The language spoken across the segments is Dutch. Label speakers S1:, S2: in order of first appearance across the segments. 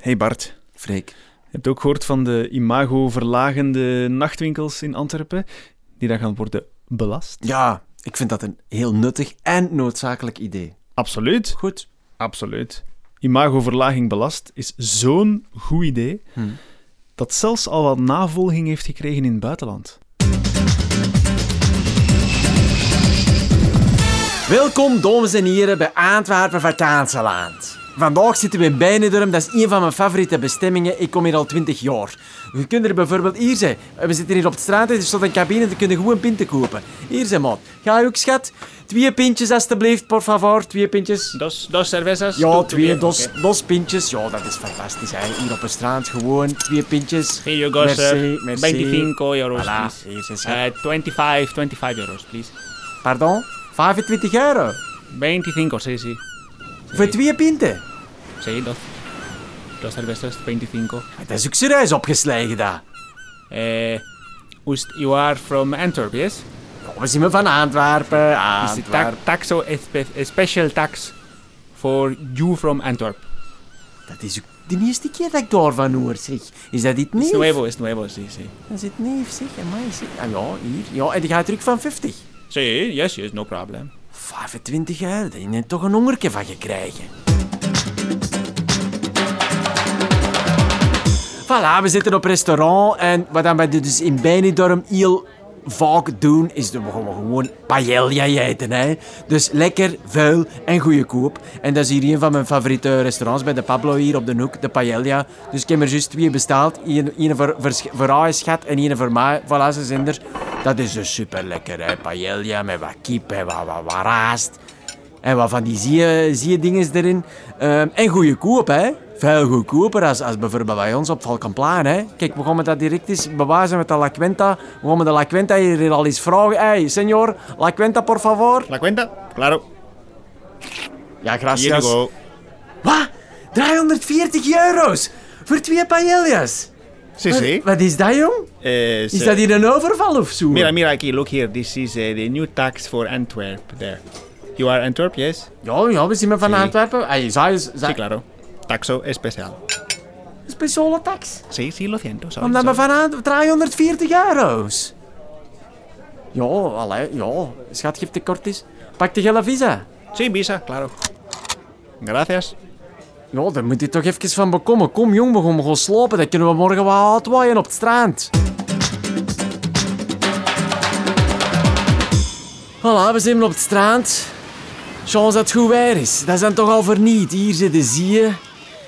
S1: Hey Bart,
S2: Freek.
S1: je hebt ook gehoord van de imago-verlagende nachtwinkels in Antwerpen, die daar gaan worden belast?
S2: Ja, ik vind dat een heel nuttig en noodzakelijk idee.
S1: Absoluut,
S2: Goed.
S1: absoluut. Imagoverlaging belast is zo'n goed idee
S2: Hm.
S1: dat zelfs al wat navolging heeft gekregen in het buitenland.
S2: Welkom, dames en heren, bij Antwerpen Vakantiland. Vandaag zitten we in Beinedurm, dat is een van mijn favoriete bestemmingen. Ik kom hier al 20 jaar. Je kunt er bijvoorbeeld hier zijn. We zitten hier op de straat, er staat een cabine, er kunnen gewoon een pint te kopen. Hier zijn, maat. Ga je ook, schat? Twee pintjes, alstublieft, por favor. Twee pintjes.
S3: Dos, dos cervezas.
S2: Ja,
S3: Doe
S2: twee,
S3: Oké.
S2: dos, dos pintjes. Ja, dat is fantastisch, hè. Hier op de straat, gewoon twee pintjes.
S3: Here you go, sir. 25 euros,
S2: Voilà,
S3: please.
S2: hier zijn, schat.
S3: Eh, 25, 25 euros, please.
S2: Pardon? 25 euro?
S3: 25, sí, sí.
S2: Voor twee pinten?
S3: Sí, dos. Dos cervezas, 25.
S2: Dat is ook serieus opgeslagen, daar.
S3: Eh, ust, you are from Antwerp, yes?
S2: Ja, we zien me van Antwerpen,
S3: Is it ta
S2: Antwerpen.
S3: taxo, espe- a special tax for you from Antwerp.
S2: Dat is ook de eerste keer dat ik daarvan hoor, zeg. Is dat dit
S3: Is nou
S2: nieuw?
S3: nuevo, is nuevo, sí, sí.
S2: Dat is het neef, zeg. Amai, zeg. Ah, ja, hier. Ja, en die gaat terug van 50.
S3: Sí, yes, yes, no problem.
S2: 25 jaar, daar heb je toch een hongerke van gekregen. Voilà, we zitten op restaurant en wat dan we dus in Beinidorm heel vaak doen, is dat we gewoon- gewoon paella eten. Hè? Dus lekker, vuil en goede koop. En dat is hier een van mijn favoriete restaurants bij de Pablo hier op de hoek, de paella. Dus ik heb er juist twee besteld. Eén één voor, voor, sch- voor haar schat en één voor mij. Voilà, ze zijn er. Dat is dus super lekker, hè? Paella met wat kip en wat, wat, wat raast. En wat van die zie je, zie je dingen erin. Ehm, en goedkoop, hè. Veel goedkoper als, als bijvoorbeeld bij ons op Valkenplaan, hè. Kijk, we gaan met dat direct eens bewazen met de La Quenta. We gaan met de La Quenta hier al eens vragen. Hé, hey, senor, La Quenta, por favor.
S1: La cuenta? Claro.
S2: Ja, gracias. Wat? 340 euro's? Voor twee paellas?
S1: Sí, Eh,
S2: Wat- Wat is dat, jong? Is dat hier een overval of zo?
S1: mira aquí, look here. This is eh, the new tax for Antwerp there. You are Antwerp, yes?
S2: Ja, ja, we zien me van Antwerpen. Hey, zij is... zij-
S1: claro. Taxo especial.
S2: Speciale tax.
S3: Sí, sí, lo siento. sorry,
S2: Omdat we
S3: sorry.
S2: vanaf 340 euro's. Ja, allee, ja. Schat, geef tekort is. Pak de gele visa.
S3: Sí, visa, claro.
S1: Gracias.
S2: Ja, daar moet je toch even van bekomen. Kom jong, we gaan gewoon slapen. Dan kunnen we morgen wel uitwaaien op het strand. Voilà, we zijn op het strand. Chance dat het goed weer is. Dat is dan toch al verniet. Hier zitten zie je.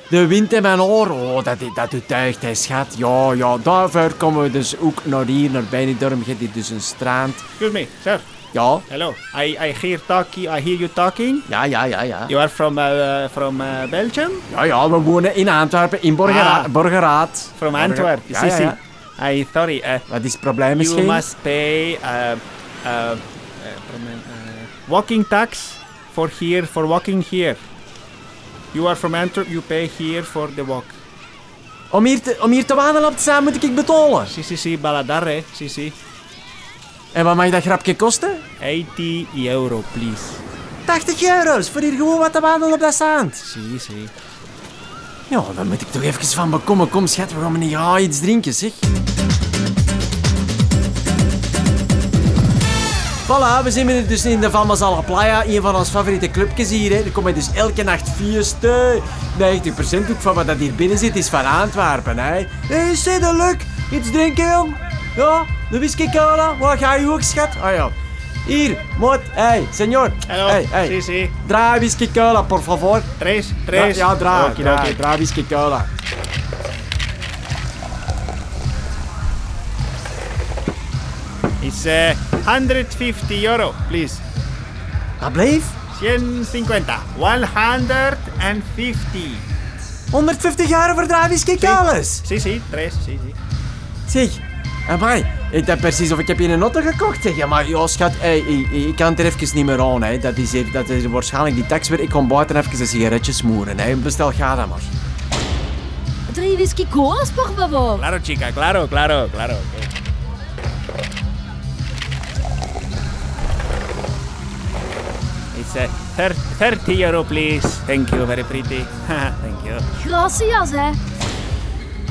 S2: De wind in mijn oor. Oh, dat, dat doet deugd, hè, schat. Ja, ja, daarvoor komen we dus ook naar hier, naar Beinidorm. Je hebt hier dus een strand.
S3: Excuse me, sir.
S2: Ja,
S3: Hello. I, I hear talking, I hear you talking.
S2: ja, ja, ja, ja.
S3: You are from, uh, from uh, Belgium?
S2: Ja, ja, we wonen in Antwerpen, in Borgera
S3: Ah.
S2: Borgeraad.
S3: From
S2: Borger-
S3: Antwerp.
S2: Ja,
S3: Sí,
S2: ja,
S3: sí.
S2: ja.
S3: I sorry. Uh,
S2: Wat is het probleem
S3: you
S2: misschien?
S3: must pay uh, uh, uh, from, uh, walking tax for here for walking here. You are from Antwerp. You pay here for the walk.
S2: Om, hier te, om hier te wandelen op te staan moet ik betalen.
S3: Sí, sí, sí. Baladare. Sí, sí.
S2: En wat mag dat grapje kosten?
S3: 80 euro, please.
S2: 80 euro's voor hier gewoon wat te wandelen op dat zand.
S3: Sí, sí.
S2: Ja, daar moet ik toch even van bekomen. Kom schat, we gaan me niet ja, iets drinken, zeg. Voilà, we zijn hier dus in de Valmazala Playa, een van onze favoriete clubjes hier. Hè. Er komen dus elke nacht fiesten. 90% ook van wat dat hier binnen zit is van Antwerpen. Hé, hey, zedelijk, iets drinken jong. Ja, de whisky cola, waar ga je ook schat? Ah ja. Hier, maat, hé, hey, senor.
S3: Hello.
S2: Hey, hey.
S3: Sí, sí.
S2: Draai whisky cola, por favor.
S3: Tres,
S2: Dra-
S3: tres.
S2: ja, draai,
S3: Okie
S2: draai,
S3: dokie.
S2: draai whisky cola.
S3: It's uh, 150 euro, please.
S2: Dat bleef
S3: 150. 150.
S2: 150 jaar voor Dravis Kikalis.
S3: Sí, sí. Tres. Sí, sí.
S2: Zeg, amai, ik dacht precies of ik heb hier een auto gekocht. Zeg, ja, maar joh, schat, ey, ey, ey, ik kan het er even niet meer aan. Hè. Dat, is, hier- dat is waarschijnlijk die tax weer. Ik kom buiten even een sigaretje smoren. Hè. Bestel, ga dan maar.
S4: Drie whisky colas, por favor.
S3: Claro, chica. Claro, claro, claro. Okay. It's eh, thir- 30 euro, please. Thank you, very pretty. Haha, Thank you.
S4: Gracias, hè.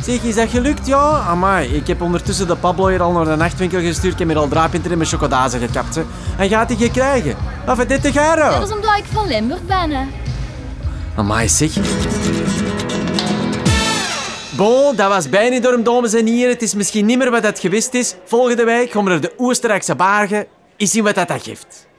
S2: Zeg, is dat gelukt? Ja, amai. Ik heb ondertussen de Pablo hier al naar de nachtwinkel gestuurd. en heb hier al draapinter in mijn chocoladezen gekapt. Hè. En gaat hij je krijgen? Wat voor 30
S4: Dat
S2: euro?
S4: is omdat ik van Limburg ben, hè.
S2: Amai, zeg. Bon, dat was bijna door dames en heren. Het is misschien niet meer wat dat geweest is. Volgende week gaan we naar de Oostenrijkse Bargen. Eens zien wat dat, dat geeft.